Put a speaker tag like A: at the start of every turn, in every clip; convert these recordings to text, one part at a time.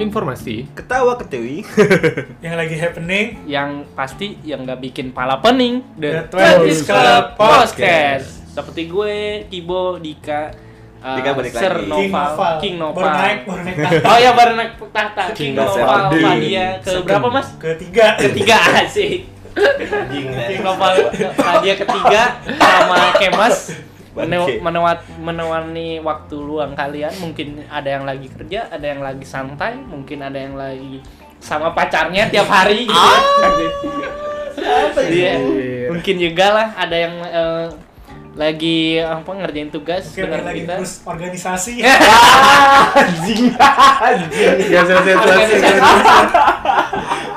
A: informasi
B: Ketawa ketiwi.
C: yang lagi happening
D: yang pasti yang nggak bikin pala pening
C: The
D: The
C: Twenties
D: Twenties
C: Club
D: Club
C: Podcast.
D: Podcast seperti gue Kibo Dika uh,
B: Dika balik
D: Sir
B: lagi.
C: King Noval
D: Noval King Noval
C: baru naik baru naik tahta.
D: oh ya baru naik tahta King,
B: King Noval.
D: Noval Padia ke berapa mas
C: ketiga
D: ketiga asik
B: Anjing.
D: King Noval Padia ketiga sama Kemas Mene-
B: Bangke.
D: menewat menewani waktu luang kalian mungkin ada yang lagi kerja ada yang lagi santai mungkin ada yang lagi sama pacarnya tiap hari gitu ya.
B: Ah!
D: Iya. Mungkin juga lah ada yang eh, lagi apa ngerjain tugas
C: Mungkin
D: dengar
C: yang lagi
D: kita.
C: terus organisasi
A: ya selesai
D: Organisasi.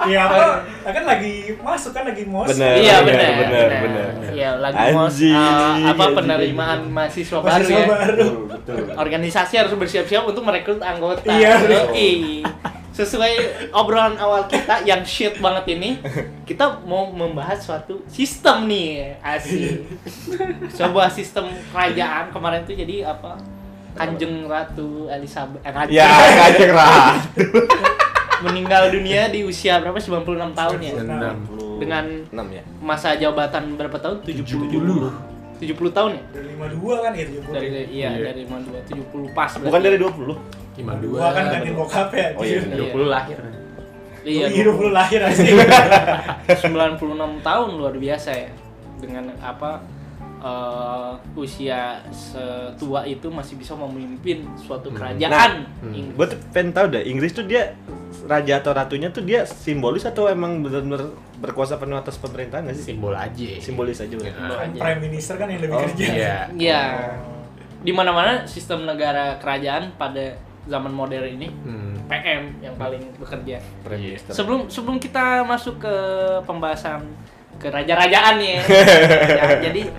C: Iya, apa? kan lagi masuk kan lagi mos.
B: Bener.
D: Iya benar.
B: benar,
D: benar.
B: benar.
D: Iya lagi mau
B: Anjing,
D: eh, apa
B: anjing.
D: penerimaan mahasiswa baru
C: Masih
D: ya.
C: baru.
B: Betul.
D: Organisasi harus bersiap-siap untuk merekrut anggota.
C: Iya.
D: Yoi. Sesuai obrolan awal kita yang shit banget ini, kita mau membahas suatu sistem nih, asik. Sebuah sistem kerajaan kemarin tuh jadi apa? Kanjeng Ratu Elizabeth. eh, Ratu.
B: Ya, kacang rah.
D: meninggal dunia di usia berapa 96 tahun
C: Nah,
D: ya
A: Enam.
D: dengan
B: 6 ya.
D: masa jabatan berapa tahun 70 70 tahun ya
C: Dari 52 kan gitu.
D: dari iya
A: Iya.
D: dari mana dua 70 pas
B: Bukan dari 20.
A: lima
C: 52
A: dua
C: kan ganti bokap ya.
B: Oh, iya,
A: dua puluh lahir
D: iya
C: Hidup lu lahir asli.
D: 96 tahun luar biasa ya dengan apa eh, usia setua itu masih bisa memimpin suatu kerajaan
A: Hmm.
D: Inggris.
B: Gue tuh pengen tahu dah, Inggris tuh dia raja atau ratunya tuh dia simbolis atau emang benar-benar berkuasa penuh atas pemerintahan nggak sih?
A: simbol aja
B: Simbolis aja berarti.
D: Lo aja.
C: Prime Minister kan yang lebih
B: Oh,
C: kerja.
A: iya
D: Iya. Di mana-mana sistem negara kerajaan pada zaman modern ini
A: Hmm.
D: PM yang paling bekerja.
B: Prime
A: Iya.
B: Minister.
D: Sebelum sebelum kita masuk ke pembahasan ke raja-rajaan ya. Ya, Jadi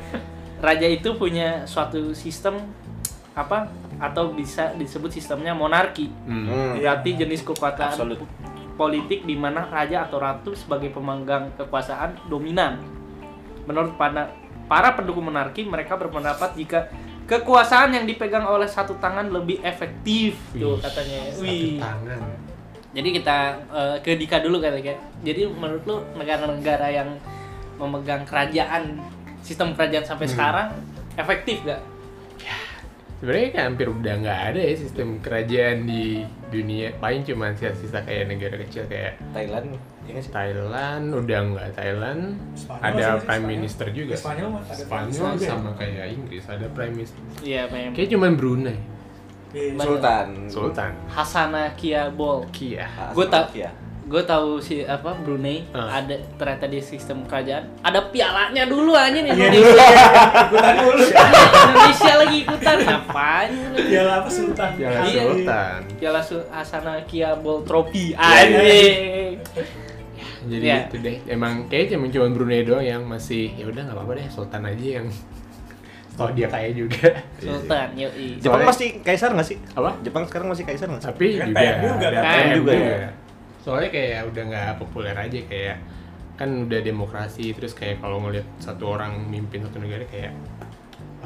D: raja itu punya suatu sistem apa atau bisa disebut sistemnya monarki.
A: Hmm.
B: Hmm.
D: Berarti jenis kekuatan
B: Absolut.
D: politik di mana raja atau ratu sebagai pemegang kekuasaan dominan. Menurut para, para pendukung monarki, mereka berpendapat jika kekuasaan yang dipegang oleh satu tangan lebih efektif tuh
A: Wih,
D: katanya.
A: satu
D: Wih.
A: tangan
D: Jadi kita eh, ke Dika dulu katanya. Jadi menurut lu negara-negara yang memegang kerajaan sistem kerajaan sampai sekarang efektif gak?
A: sebenarnya kan hampir udah nggak ada ya sistem kerajaan di dunia paling cuma sisa-sisa kayak negara kecil kayak
B: Thailand. Iya nggak sih?
A: Thailand udah nggak Thailand
C: Spanyol
A: ada
C: sih,
A: prime
C: Spanyol.
A: minister juga
C: Spanyol mah ada prime minister
A: Spanyol
C: juga ya.
A: sama kayak Inggris ada prime minister
D: Iya, memang.
A: kayak cuman Brunei
C: Iya.
B: Sultan.
A: Sultan
D: Hasana Kia Bol.
A: Kia
B: Ah,
D: Gua tak-
B: Slovakia.
D: gue tahu si apa Brunei
A: Ah.
D: ada ternyata di sistem kerajaan ada pialanya dulu aja nih
C: Iya.
D: Indonesia
C: Ikutan dulu.
D: Indonesia lagi ikutan ngapain
C: Ya apa Sultan?
A: Piala
D: Iya.
A: Sultan
D: piala Su- Hasana Kia Bol Trophy
C: Iya.
D: anjing
A: jadi
D: Iya.
A: itu deh emang kayaknya cuma cuma Brunei doang yang masih ya udah nggak apa-apa deh Sultan aja yang tau dia kaya juga
D: Sultan yoi
B: Jepang
A: Soalnya-
B: masih kaisar nggak sih?
A: apa
B: Jepang sekarang masih kaisar nggak sih?
A: tapi
C: Kan
A: juga
C: PM juga,
A: ada
C: kan?
A: PM
B: PM juga
A: juga.
B: ya.
A: soalnya kayak udah nggak populer aja kayak kan udah demokrasi terus kayak kalau ngeliat satu orang mimpin satu negara kayak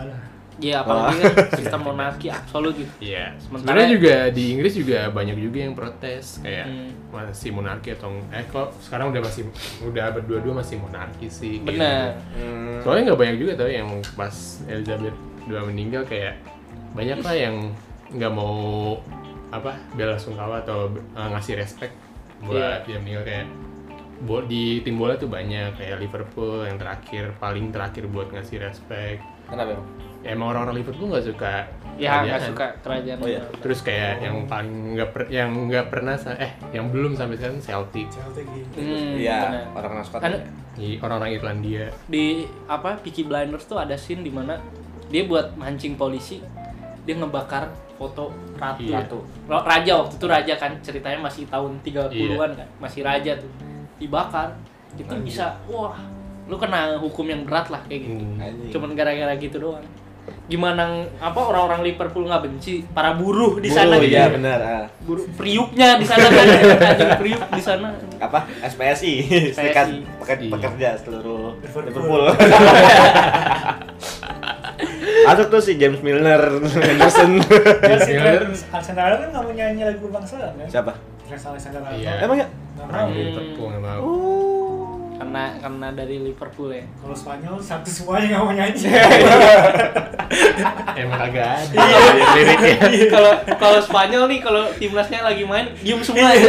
A: alah
D: iya apalagi kan sistem monarki absolut gitu
A: Iya,
D: Sementara-
A: sebenarnya juga di Inggris juga banyak juga yang protes kayak
D: Hmm.
A: masih monarki atau eh kok sekarang udah masih udah berdua-dua masih monarki sih. kayak
D: bener
A: gitu.
B: Hmm.
A: Soalnya nggak banyak juga tau yang pas Elizabeth II meninggal kayak banyak lah yang nggak mau apa bela sungkawa atau eh, ngasih respect
D: Iya.
A: buat dia meninggal kayak bo- di tim bola tuh banyak kayak Liverpool yang terakhir paling terakhir buat ngasih respect.
B: Kenapa emang?
A: Ya, emang orang-orang Liverpool nggak suka
D: ya nggak
A: kerajaan
D: suka kerajaan
B: Oh, iya.
A: terus kayak yang paling nggak per- yang nggak pernah sa- eh yang belum sampai sekarang Celtic
C: Celtic gitu.
D: Hmm, bener.
B: Iya, orang orang Scotland. ya.
D: Kan-
A: di orang-orang Irlandia
D: di apa Peaky Blinders tuh ada scene di mana dia buat mancing polisi dia ngebakar foto ratu
A: Iya.
D: Ratu. Ra- raja waktu itu raja kan ceritanya masih tahun 30-an kan masih raja tuh dibakar itu bisa wah lu kena hukum yang berat lah kayak gitu
B: Anjing.
D: cuman gara-gara gitu doang gimana ng- apa orang-orang Liverpool nggak benci para buruh di
B: Buruh,
D: sana gitu
B: iya benar. ah.
D: buruh priuknya di sana kan anjing priuk di sana
B: Apa? SPSI, Serikat Peke-
A: Iya.
B: Pekerja seluruh
C: Liverpool.
B: Liverpool. Atau tuh si James Milner, Henderson.
C: James
A: Miller.
D: Iya.
C: Arsenal kan nggak mau nyanyi lagu kebangsaan kan?
B: Siapa?
C: Reza Alexander
A: Iya.
C: Arnold.
B: Emang ya?
C: Nggak
A: orang
C: mau.
D: Hmm.
A: Liverpool nggak mau
B: Oh.
D: karena karena dari Liverpool ya
C: Kalau Spanyol satu semuanya nggak mau nyanyi.
D: Iya.
A: emang kagak ada Iya, liriknya
D: kalau kalau Spanyol nih kalau timnasnya lagi main diem semua ya.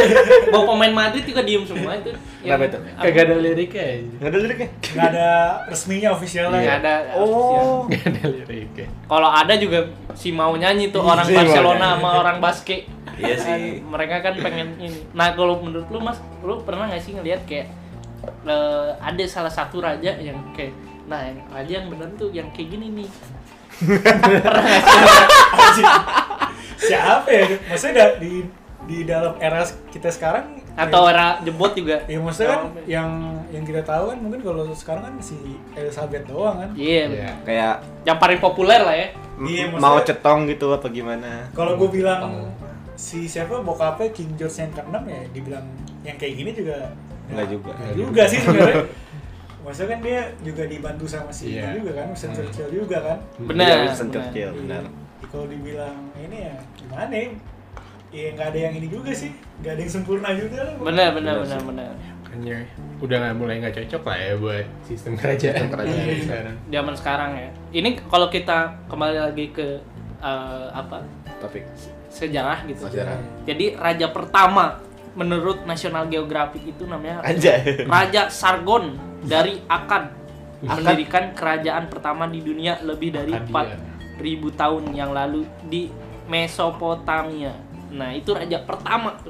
D: mau pemain Madrid juga diem semua itu Iya. Yang-
B: Kenapa itu?
D: apa-
A: kagak ada liriknya anjing.
B: Nggak ada liriknya?
C: Nggak ada resminya officialnya.
B: Iya.
D: nggak Iya, ada Iya.
B: Oh.
A: nggak ada liriknya
D: kalau ada juga si mau nyanyi tuh orang
B: Si mau
D: Barcelona
B: nyanyi.
D: sama orang Basque
B: Iya sih.
D: mereka kan pengen ini nah kalau menurut lu mas lu pernah nggak sih ngelihat kayak eh, ada salah satu raja yang kayak nah yang raja yang bener tuh yang kayak gini nih pernah nggak sih
C: Anjing. Siapa ya? Maksudnya da- di di dalam era kita sekarang
D: atau era jebot juga
C: Ya maksudnya kan yang yang kita tahu kan mungkin kalau sekarang kan si Elizabeth doang kan.
A: Iya.
D: iya bener.
B: Kayak
D: yang paling populer lah ya
B: m-
C: Iya, maksudnya-
B: mau cetong gitu apa gimana?
C: Kalau gue bilang
A: Oh.
C: si siapa bokapnya King George yang keenam ya dibilang yang kayak gini juga
B: Nggak juga.
C: Nggak juga sih sebenarnya. Maksudnya kan dia juga dibantu sama si
A: Iya.
C: ini juga kan, Winston
A: Hmm.
C: Churchill juga kan.
D: Benar,
B: Iya, Winston
D: benar.
B: Churchill, benar.
C: Iya. Kalau dibilang ini ya gimana ya? Iya nggak ada yang ini juga sih, nggak ada yang sempurna juga lah.
D: bener bener bener bener
A: makanya udah nggak mulai nggak cocok lah ya buat sistem kerajaan kerajaan sekarang
D: zaman sekarang ya ini kalau kita kembali lagi ke eh, apa
B: Topik.
D: sejarah gitu
B: Sejarah.
D: jadi raja pertama menurut National Geographic itu namanya
B: Anjay.
D: Raja Sargon dari Akkad
B: Akkad?
D: mendirikan kerajaan pertama di dunia lebih dari
A: Akkadia.
D: 4000 tahun yang lalu di Mesopotamia. Nah, itu raja pertama tuh.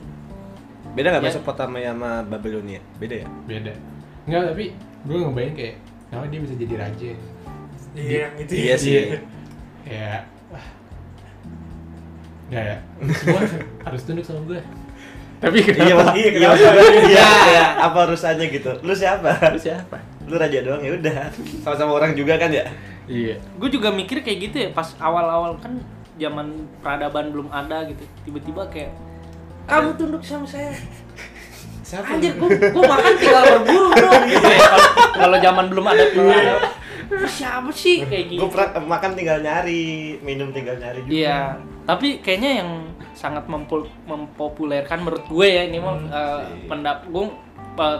B: Beda nggak
D: Ya.
B: Mesopotamia sama Babilonia? Beda ya?
A: beda nggak tapi gue ngebayang kayak kenapa dia bisa jadi raja
C: Iya yang itu.
B: Iya sih.
A: kayak ah. wah nggak ya semua harus tunduk sama gue tapi
B: Iya,
A: kenapa
B: Mas.
C: Iya,
B: iya,
C: kenapa?
B: maksudnya- iya, iya, apa urusannya gitu? Lu siapa?
A: Lu siapa
B: Lu raja doang ya udah. Sama-sama orang juga kan ya?
A: iya
D: Gue juga mikir kayak gitu ya pas awal-awal kan zaman peradaban belum ada gitu. Tiba-tiba kayak kamu tunduk sama saya.
C: Siapa?
D: Anjir, gue gue makan tinggal berburu bro. Gitu ya, kalau- Kalau zaman belum ada peradaban. Lu Siapa sih kayak gitu?
B: Gue eh, makan tinggal nyari, minum tinggal nyari juga.
D: Iya, tapi kayaknya yang sangat mempul- mempopulerkan menurut gue ya ini mah eh,
B: Hmm, sih.
D: pendap gue eh,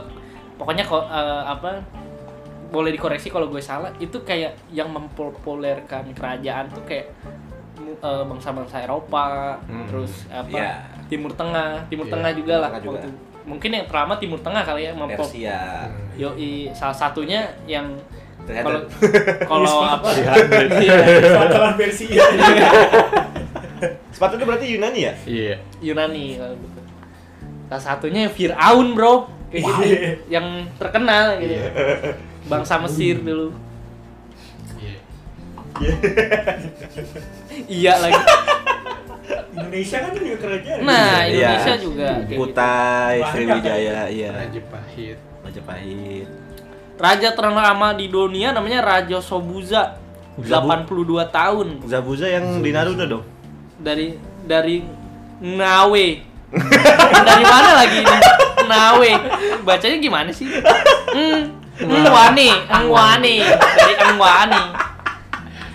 D: pokoknya ko- eh, apa boleh dikoreksi kalau gue salah itu kayak yang mempopulerkan kerajaan tuh kayak eh, bangsa-bangsa Eropa
A: Hmm.
D: terus apa
B: Iya.
D: Timur Tengah Timur
A: Iya,
D: Tengah juga lah
B: Tengah juga.
D: waktu- mungkin yang pertama Timur Tengah kali ya mempop
B: Persia.
D: yoi salah satunya yang
B: Ternyata- Iya.
D: kalau kalau apa
A: ya.
C: Wartawan versi ya.
B: Sepatu itu berarti Yunani ya?
A: iya
D: Yunani kalau gitu. Salah satunya Fir'aun bro, kayak gitu.
B: iya.
D: yang terkenal gitu. Bangsa Mesir dulu.
A: iya
D: Iya lagi.
C: Indonesia kan juga kerajaan.
D: Nah
B: Iya.
D: Indonesia juga. kayak gitu.
B: Kutai,
C: Banyak.
B: Sriwijaya, iya.
A: raja pahit
B: Majapahit.
D: Raja ternama di dunia namanya Raja Sobuza.
B: Zabu-
D: 82 tahun
B: Zabuza yang di Naruto dong.
D: dari dari Nawe. dari mana lagi ini? Nawe. Bacanya gimana sih? Hmm. Engwani, Engwani, dari Engwani.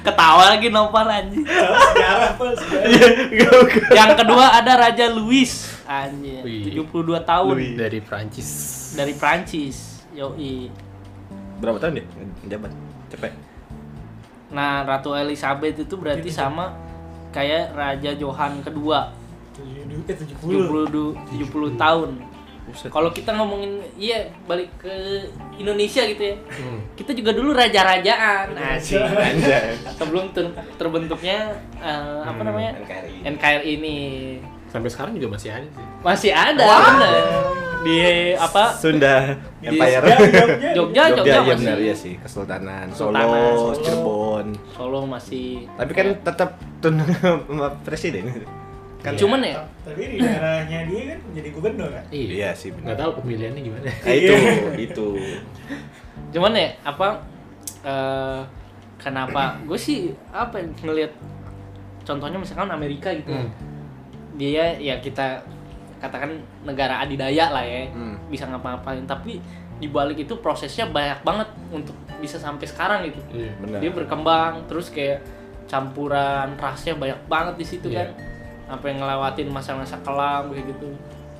D: Ketawa lagi nopal anjing.
C: Salah sejarah apa? sejarah.
D: Yang kedua ada Raja Louis. Anjir,
A: Wih.
D: 72 tahun
B: Louis.
A: dari Prancis
D: dari Prancis. Yoi.
B: Berapa tahun dia? Jabat. Cepet.
D: Nah, Ratu Elizabeth itu berarti sama kayak Raja Johan kedua
C: 70, eh 70.
D: 70 70 tahun.
B: Buset.
D: Kalau kita ngomongin iya balik ke Indonesia gitu ya.
A: Hmm.
D: Kita juga dulu raja-rajaan.
C: Iya.
D: Asik.
B: Anjay.
D: Sebelum ter- terbentuknya eh, apa
A: Hmm,
D: namanya?
B: NKRI.
D: NKRI ini
A: sampai sekarang juga masih ada sih
D: masih ada bener. di apa
B: Sunda
C: Di
B: Empire.
C: Jogja, Iya. Jogja.
D: Jogja Jogja,
B: Jogja iya
D: masih
B: benar iya sih, Kesultanan,
D: Kesultanan,
B: Solo,
C: Solo.
B: Cirebon.
D: Solo masih
B: Tapi kan tetap tunduk sama presiden.
D: Kan cuman ya
C: Tapi di daerahnya dia kan jadi gubernur kan.
B: Iya sih benar.
A: nggak tahu pemilihannya gimana
B: Nah, itu, itu.
D: cuman ya apa eh, kenapa gue sih apa ya, ngelihat contohnya misalkan Amerika gitu
A: Hmm.
D: dia ya kita katakan negara adidaya lah ya
B: Hmm.
D: bisa ngapa-ngapain tapi dibalik itu prosesnya banyak banget untuk bisa sampai sekarang gitu
A: iya
B: Benar.
D: dia berkembang terus kayak campuran rasnya banyak banget di situ
A: Iya.
D: kan sampai ngelewatin masa-masa kelam kayak gitu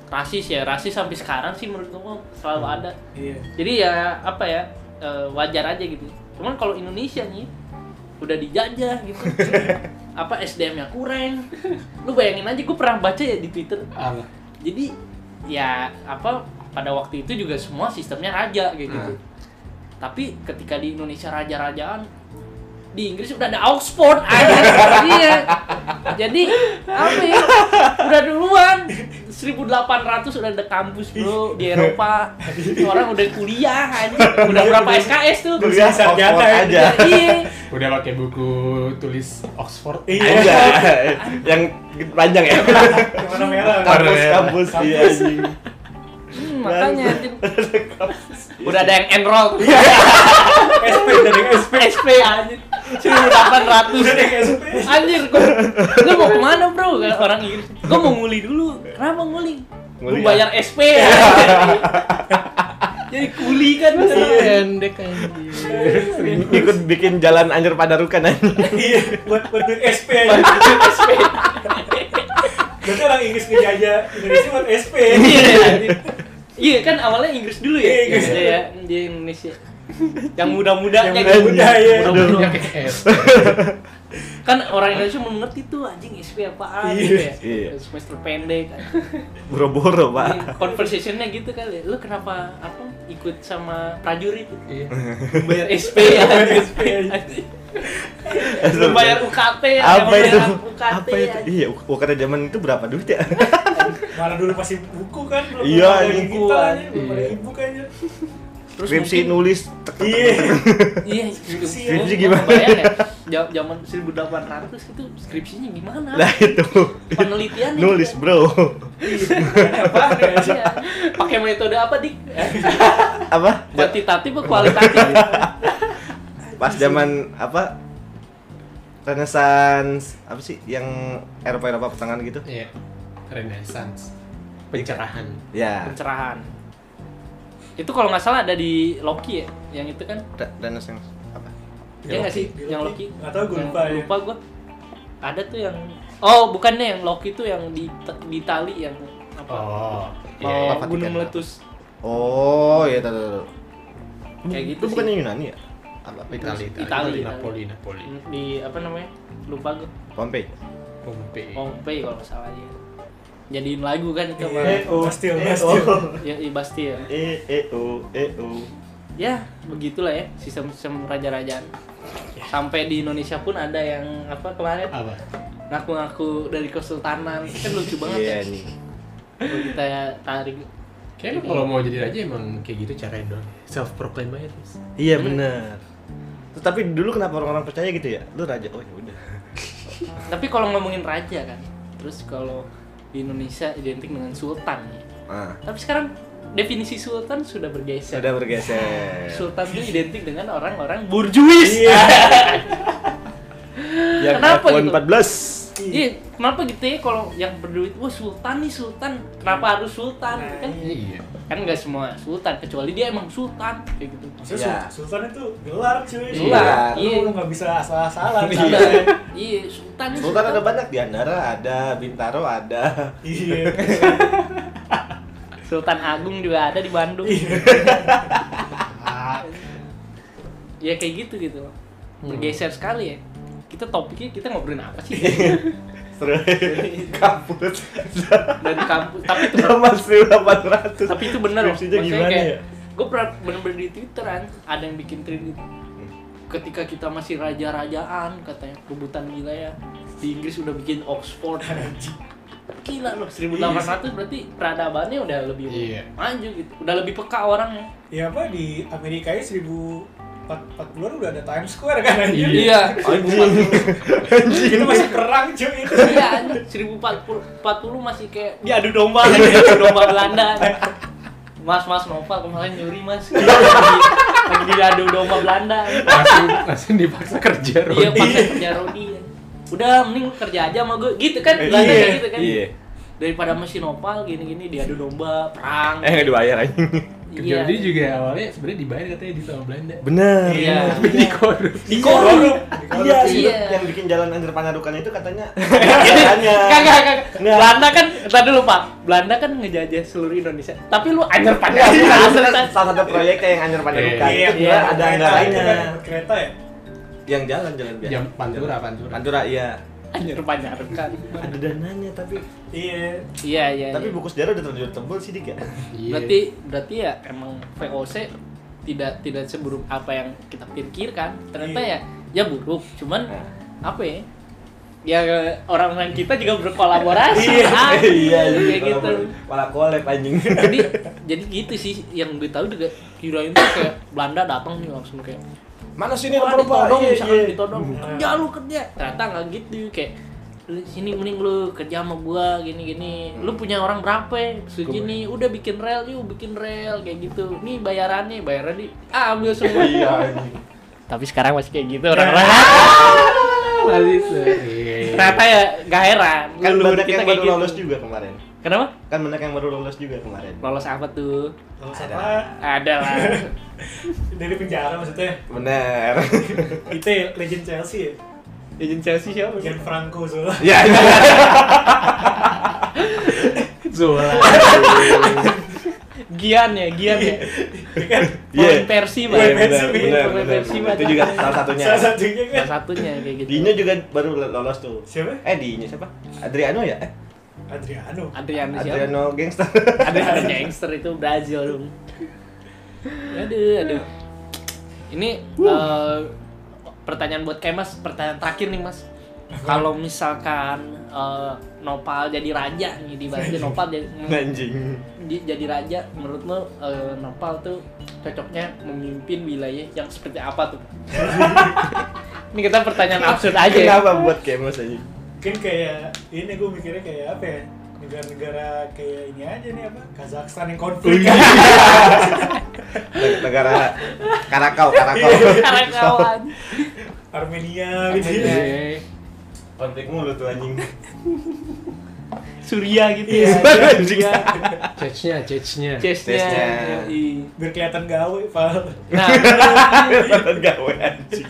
D: rasis ya rasis sampai sekarang sih menurut gue selalu
A: Hmm.
D: ada
C: Iya.
D: jadi ya apa ya eh, wajar aja gitu cuman kalau Indonesia nih udah dijajah gitu apa SDM nya kurang lu bayangin aja gue pernah baca ya di Twitter
A: Ah,
C: Apa?
D: jadi ya apa pada waktu itu juga semua sistemnya raja kayak gitu
B: Nah.
D: tapi ketika di Indonesia raja-rajaan di Inggris udah ada Oxford aja iya jadi apa ya udah duluan 1800 udah ada kampus bro di Eropa orang udah kuliah aja udah berapa SKS tuh
B: Kuliah
C: Bisa sarjana
B: Oxford
C: ya.
B: aja.
D: iya
A: Udah pakai buku tulis Oxford.
C: Iya.
B: Aja. Yang panjang ya.
C: Yang warna merah.
A: Kar-
C: kan?
B: Kampus kampus iya anjing.
D: Hmm, makanya anjing. udah
B: Udah
D: ada yang enroll
C: SP dari SP.
D: SP anjir 1800
C: Udah deh SP.
D: Anjir, gue, gue mau kemana bro? Kata Orang Inggris, gue mau nguli dulu. Kenapa nguli? Gue
B: Nguli
D: bayar SP. ya. Jadi kuli kan.
C: Iya.
A: Pendek anjir.
B: ikut bikin jalan anjir padarukan anjing.
C: Iya, buat buat duit SP aja.
D: SP.
C: Berarti orang Inggris ngejajah Indonesia buat SP.
D: Iya, anjir. Iya kan awalnya Inggris dulu ya.
C: Iya, Inggris.
D: Iya, ya, dia Indonesia. Yang muda-mudanya
C: Yang
D: gitu.
C: muda, iya.
D: Muda-muda.
A: Yang kayak S.
D: Kan orang Indonesia mau ngerti tuh anjing SP apaan
C: Iya.
D: gitu ya.
B: Iya.
D: Semester pendek. Iya.
B: Boro-boro, Pak.
D: Conversationnya gitu kali. Lu kenapa apa ikut sama prajurit?
A: Iya.
D: bayar SP ya
C: Bayar SP aja.
D: Lu bayar UKT ya
B: Apa
D: bayar
B: itu?
D: UKT
B: Apa itu?
D: ya.
B: Iya, UKT zaman itu berapa duit ya?
C: Malah dulu masih buku kan, belum
B: Iya,
C: ada
B: anjing.
C: digital aja, kan belum ada
A: Iya.
C: e-book aja.
D: terus
B: Skripsi
D: mungkin-
B: nulis tek, tek,
C: Iya.
D: iya
C: Skripsi
D: gua-
B: gimana?
D: gua bayang ya, ja- zaman 1800 itu gitu, skripsinya gimana
B: Lah itu.
D: penelitian gitu
B: Nulis,
D: kan.
B: Bro.
C: Apa?
D: Iya. pakai metode apa dik
B: Apa?
D: kuantitatif atau kualitatif
B: Pas zaman apa? Renaissance apa sih yang Eropa Eropa pertengahan gitu?
A: Iya. Renaissance. Pencerahan.
B: Ya.
D: pencerahan itu kalau nggak salah ada di Loki ya yang itu kan
B: Re- Renaissance apa?
D: Iya nggak sih yang Loki?
C: Ya, Nggak tahu, gue
D: Yang
C: lupa ya.
D: Lupa gue. Ada tuh yang Oh, bukannya yang Loki tuh yang di di tali yang apa?
A: Oh.
D: mau
A: Iya.
B: Vatikan.
D: gunung meletus.
B: Oh, iya tahu tahu. tahu.
D: Kayak gitu
B: Itu
D: sih.
B: bukannya Yunani ya? Apa?
A: Itali, Itali,
D: Itali. Hmm.
A: Napoli, Napoli.
D: Di apa namanya? Lupa gue.
B: Pompei.
A: Pompei.
D: Pompei kalau nggak salah ya. Jadiin lagu kan itu sama
C: Iya, Bastille,
B: Eh,
C: Bastille.
B: oh.
D: ya di Bastille.
B: E E O E O.
D: Ya, begitulah ya sistem-sistem raja-rajaan. Sampai di Indonesia pun ada yang apa kemarin
A: Apa?
D: ngaku-ngaku dari kesultanan kan lucu banget
B: Iya
D: ya
B: nih.
D: kalau kita tarik
A: Kayaknya kalau mau jadi raja emang kayak gitu caranya doang. Self proclaim aja terus.
B: Iya benar. Terus tapi dulu kenapa orang-orang percaya gitu ya? Lu raja. Oh ya udah.
D: Tapi kalau ngomongin raja kan, terus kalau di Indonesia identik dengan sultan ya.
B: Ah,
D: Tapi sekarang definisi sultan sudah bergeser.
B: sudah bergeser.
D: Sultan itu identik dengan orang-orang borjuis.
C: Iya.
B: Yang Ya,
D: Kenapa
B: iPhone
D: gitu?
B: 14.
D: Iya, kenapa gitu ya kalau yang berduit, wah sultan nih sultan, kenapa harus sultan? Kan
A: Iya.
D: kan nggak semua sultan, kecuali dia emang sultan kayak gitu.
C: Maksudnya
B: Iya.
C: Sul- Sultan itu gelar cuy.
B: Gelar.
C: Lu
D: Iya.
C: nggak bisa asal-asalan.
D: Iya,
C: Sultan.
D: iya sultan. nih,
B: Sultan ada banyak di Andara, ada Bintaro, ada.
C: Iya.
D: Sultan Agung juga ada di Bandung. ya kayak gitu gitu. Bergeser sekali ya. Kita topiknya kita ngobrolin apa sih?
B: Seru. Kampus.
D: Dari kampus. Tapi itu
B: Sama 1800.
D: tapi itu benar loh.
B: Skripsinya gimana
D: kayak,
B: ya?
D: Gue pernah bener-bener di Twitteran ada yang bikin thread gitu. Ketika kita masih raja-rajaan katanya rebutan wilayah di Inggris udah bikin Oxford. Gila loh 1800 berarti peradabannya udah lebih
A: Iya.
D: maju gitu. Udah lebih peka orangnya.
C: Ya apa di Amerika ya 1040-an udah ada Times Square kan anjir.
D: Iya.
C: Itu masih perang cuy itu.
D: Iya, 1040 40 masih kayak diadu domba kan, diadu domba Belanda. Mas Mas Nopal kemarin nyuri Mas. Lagi diadu domba Belanda.
A: Langsung, langsung dipaksa kerja
D: Iya,
A: Rodi.
D: pakai kerja Rodi. Udah mending lu kerja aja sama gue gitu kan Belanda
B: Iya,
D: kayak gitu kan.
B: iya.
D: Daripada mesin Nopal gini-gini diadu domba, perang.
B: Eh nggak dibayar aja.
A: Iya.
D: Iya.
A: juga awalnya sebenarnya dibayar katanya di sama Belanda.
B: Bener.
D: Iya.
B: bener.
A: Tapi dikorupsi.
D: Dikorup.
B: Iya, sih.
D: Iya.
B: yang bikin jalan Anjir Panjarukan itu katanya Nah, katanya.
D: Kagak, kagak.
B: Nggak.
D: Belanda kan, entar dulu Pak. Belanda kan ngejajah seluruh Indonesia. Tapi lu anjir
B: Iya,
D: panjang.
B: itu
D: Nah,
B: kan
D: seriusan.
B: salah satu proyeknya yang Anjir Panjarukan.
A: Iya,
B: Itu juga
D: iya.
B: ada
C: Kereta,
B: anggarannya.
C: itu kan Kereta ya?
B: Yang jalan jalan biasa.
A: Jam Pantura, Pantura.
B: Pantura iya.
D: Anjir panjang kan.
B: Ada dananya tapi
C: Iya.
D: Iya, iya.
B: tapi
D: iya.
B: buku sejarah udah terlanjur tebel sih dik ya.
A: Iya.
D: Berarti berarti ya emang VOC tidak tidak seburuk apa yang kita pikirkan. Ternyata
C: Iya.
D: ya ya buruk, cuman
B: Nah.
D: apa ya? Ya orang-orang kita juga berkolaborasi. Ah,
B: iya iya
D: kayak gitu.
B: Wala kolep anjing.
D: jadi jadi gitu sih yang gue tahu juga kirain tuh kayak Belanda datang nih langsung kayak
B: Mana sini
D: wah
B: rupa-rupa?
D: ditodong
B: Iya,
D: misalkan
B: iya.
D: ditodong kerja lu kerja ternyata nggak gitu kayak "Lu sini mending lu kerja sama gua gini gini
B: Hmm.
D: lu punya orang berapa ya? segini udah bikin rel yuk bikin rel kayak gitu nih bayarannya bayarannya ah ambil semua
B: Iya anjing.
D: tapi sekarang masih kayak gitu orang-orang
A: Masih se- Ah, Iya, iya.
D: ternyata ya gak heran
B: Kan
D: Leluhur
B: banyak yang baru
D: kayak gitu.
B: lolos juga kemarin.
D: kenapa
B: Kan banyak yang baru lolos juga kemarin.
D: lolos apa tuh
C: Kalau
B: Ada.
C: sama
D: ada lah
C: dari penjara maksudnya.
B: Bener.
C: Itu ya, legend Chelsea ya?
D: Agent Chelsea siapa
C: Gianfranco Zola.
B: Ya iya.
A: Zola.
D: Gian ya Gian ya
C: Iya kan?
B: Iya.
D: Pemain Persi Pak.
C: Pemain Persi,
B: bener, bener,
D: pemain
B: bener.
D: Persi, Pak.
B: Itu juga salah satunya.
C: Salah satunya kan?
D: Salah satunya kayak gitu.
B: Iya. Dinya juga baru lolos tuh.
C: Siapa?
B: Eh Dinya siapa? Adriano ya? Eh,
C: Adriano.
D: Adriano siapa?
B: Adriano gangster.
D: Adriano gangster itu Brazil dong. Aduh, aduh. Ini eh, pertanyaan buat kayak Mas, pertanyaan terakhir nih Mas. Kalau misalkan eh, Nopal jadi raja nih di Brazil, Nopal jadi,
B: Anjing.
D: di- jadi raja, menurut lo eh, Nopal tuh cocoknya memimpin wilayah yang seperti apa tuh? Ini kita pertanyaan absurd aja. ya.
B: Kenapa buat kemos anjing?
C: Mungkin kayak ini gue mikirnya kayak apa ya? Negara-negara kayak ini aja nih apa? Kazakhstan yang
B: Oh,
C: konflik.
B: iya. Neg- Negara Karakau, Karakau.
D: Karakawan.
C: Armenia gitu.
D: Armenia.
A: Iya.
B: Konflik mulu tuh anjing.
D: Surya gitu ya. Iya.
C: Iya,
B: anjing.
D: Surya.
A: Cecnya, cecnya.
D: Chestnya.
B: Chestnya.
D: yoi.
C: Biar kelihatan gawe, Pak.
D: Nah,
B: Mantan gawe anjing.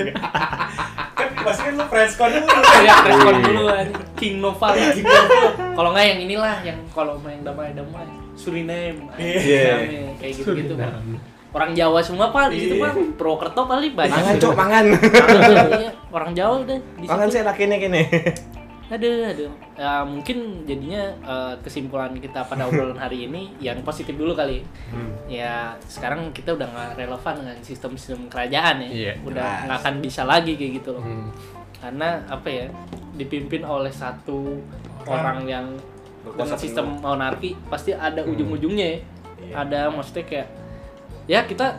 C: Kan pasti kan lu preskon dulu.
B: Iya.
D: ya respon dulu King Noval King Noval. Kalau nggak yang inilah yang kalau main damai damai Suriname.
C: Iya.
D: Suriname, Kayak gitu-gitu. Bang.
A: Nah.
D: Orang Jawa semua pak di situ
C: Iya.
D: pak Prokerto kali banyak.
B: Mangan, Cok, mangan.
D: Iya, Orang Jawa udah di
B: Mangan sih
D: situ.
B: enaknya kene.
D: Aduh, aduh. Ya, mungkin jadinya eh, kesimpulan kita pada obrolan hari ini yang positif dulu kali. ya sekarang kita udah nggak relevan dengan sistem-sistem kerajaan ya
A: Iya,
D: udah
B: jelas.
D: nggak akan bisa lagi kayak gitu loh
A: Hmm.
D: karena apa ya dipimpin oleh satu orang,
C: Orang.
D: yang
B: Berkuasa
D: dengan sistem monarki pasti ada
A: Hmm.
D: ujung-ujungnya ya
B: Iya.
D: ada maksudnya kayak ya kita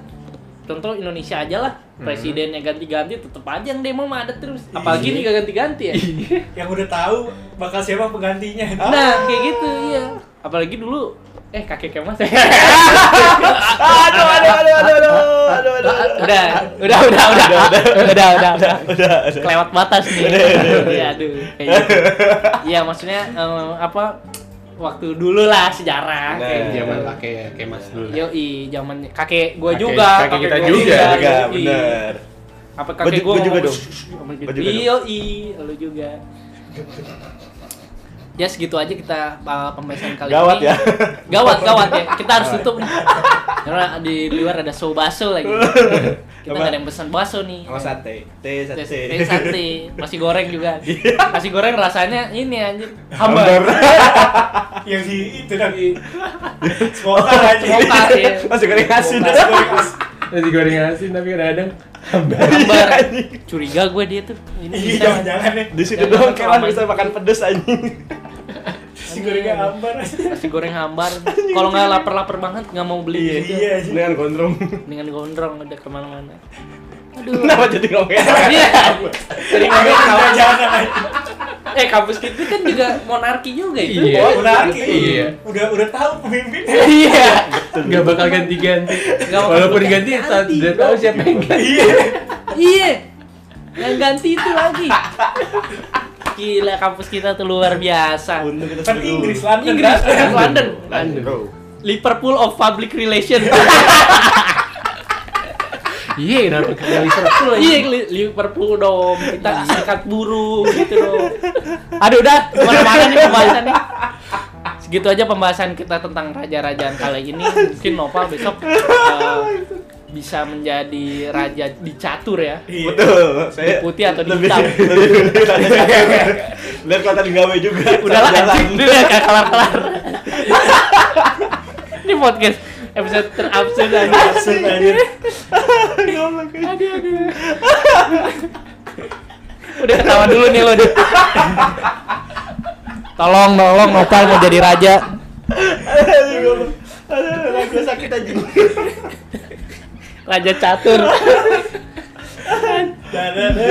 D: contoh Indonesia aja lah
A: Hmm.
D: presidennya ganti-ganti tetep aja yang demo mah ada terus apalagi
A: Iya.
D: ini gak ganti-ganti ya
C: Yang udah tahu bakal siapa penggantinya.
D: nah kayak gitu iya apalagi dulu eh kakek kemas
B: Aduh, aduh, aduh, aduh, aduh, aduh, aduh.
D: udah, udah, udah, udah, udah, udah, udah, udah, kelewat batas nih. Iya, aduh, kayak gitu. Iya, maksudnya em, apa? Waktu dulu lah sejarah.
B: Nah,
D: kayak gitu.
A: Iya. Zaman pakai kayak mas dulu. lah.
D: Yoi, zaman kakek gua
A: Kakek-
D: juga,
A: kakek kita
D: gua
A: juga,
B: Iya, Juga
D: yoi.
B: bener.
D: Apa kakek
B: Gua ju-
D: gua
B: gua juga
D: ngomong,
B: dong.
D: "Shh, shh, shh," ngomong
B: Gua
D: gitu.
B: juga dong.
D: Yoi, lu juga. Ya segitu aja kita uh, pembahasan kali
B: Gawat
D: ini.
B: ya.
D: Gawat, gawat ya. Kita harus tutup nih. Karena di luar ada so baso lagi. Kita
B: Apa?
D: nggak ada yang pesan baso nih.
B: Sama sate. Teh sate.
D: Teh sate, nasi goreng juga. Nasi goreng rasanya ini anjir hambar.
B: Hambar.
C: Yang di itu dari Smoker aja.
D: Smoker. Iya.
B: Masih goreng asin.
C: Smoker, smoker.
A: Nasi goreng asin tapi kadang-kadang
D: Hambar.
B: Iya, Anjing.
D: Curiga gue dia tuh. Ini
C: Iya,
D: bisa.
C: jangan-jangan ya.
B: Di situ
D: Jangan
B: doang
D: sampai
B: kewan
D: kelamaan.
B: bisa makan pedes anjing.
C: Si gorengnya ambar.
D: Nasi goreng hambar. Kalau nggak lapar-lapar banget nggak mau beli gitu.
C: Iya, iya.
B: Dengan gondrong.
D: Dengan gondrong udah kemana-mana. Aduh.
B: Kenapa jadi ngomongin?
D: Iya. Tadi ngomong
C: Jangan,
D: kawan-
C: jangan.
D: Eh kampus kita kan juga monarki juga itu.
A: Iya.
C: Monarki.
A: Iya.
C: Oh, Udah udah tahu pemimpinnya.
D: Iya.
A: nggak bakal ganti-ganti.
D: Nggak bakal
A: Walaupun
D: ganti-ganti,
A: diganti, ya, tak- tidak tahu siapa yang ganti.
D: Iya. Yang ganti itu lagi. Gila kampus kita tuh luar biasa.
B: Untung kita
C: Kan
B: seru.
C: Inggris, London. kan?
D: Inggris, London.
B: London.
D: Liverpool of Public Relation.
A: Iya, kenapa kita Liverpool aja?
D: Iya, Li- Liverpool dong. Kita serikat buruh gitu dong. Aduh udah, kemana-mana nih pembahasan nih. Segitu aja pembahasan kita tentang raja-rajaan kali ini. Mungkin Nopal besok eh, bisa menjadi raja di catur ya.
C: Iya.
B: Betul. Saya
D: Di putih atau di
B: lebih-
D: hitam.
B: lebih- Lihat kelihatan gawe juga.
D: Udahlah
B: Jalan.
D: anjing, dulu ya gak kelar-kelar. Ini podcast episode terabsurd anjing.
C: Absurd anjir.
B: Ngomong kayak-
D: Aduh, aduh. Udah ketawa dulu nih lo Dit. Tolong, tolong Nopal mau jadi raja.
B: Aduh, ngomong. Aduh, gue sakit aja.
D: Raja catur.
C: Dadah.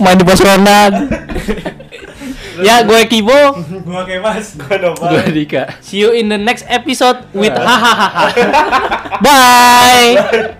D: Main di pos ronda. ya, gue Kibo.
C: Gua kayak mas.
B: Gua nopal.
A: Gue Dika.
D: See you in the next episode with hahaha. Bye.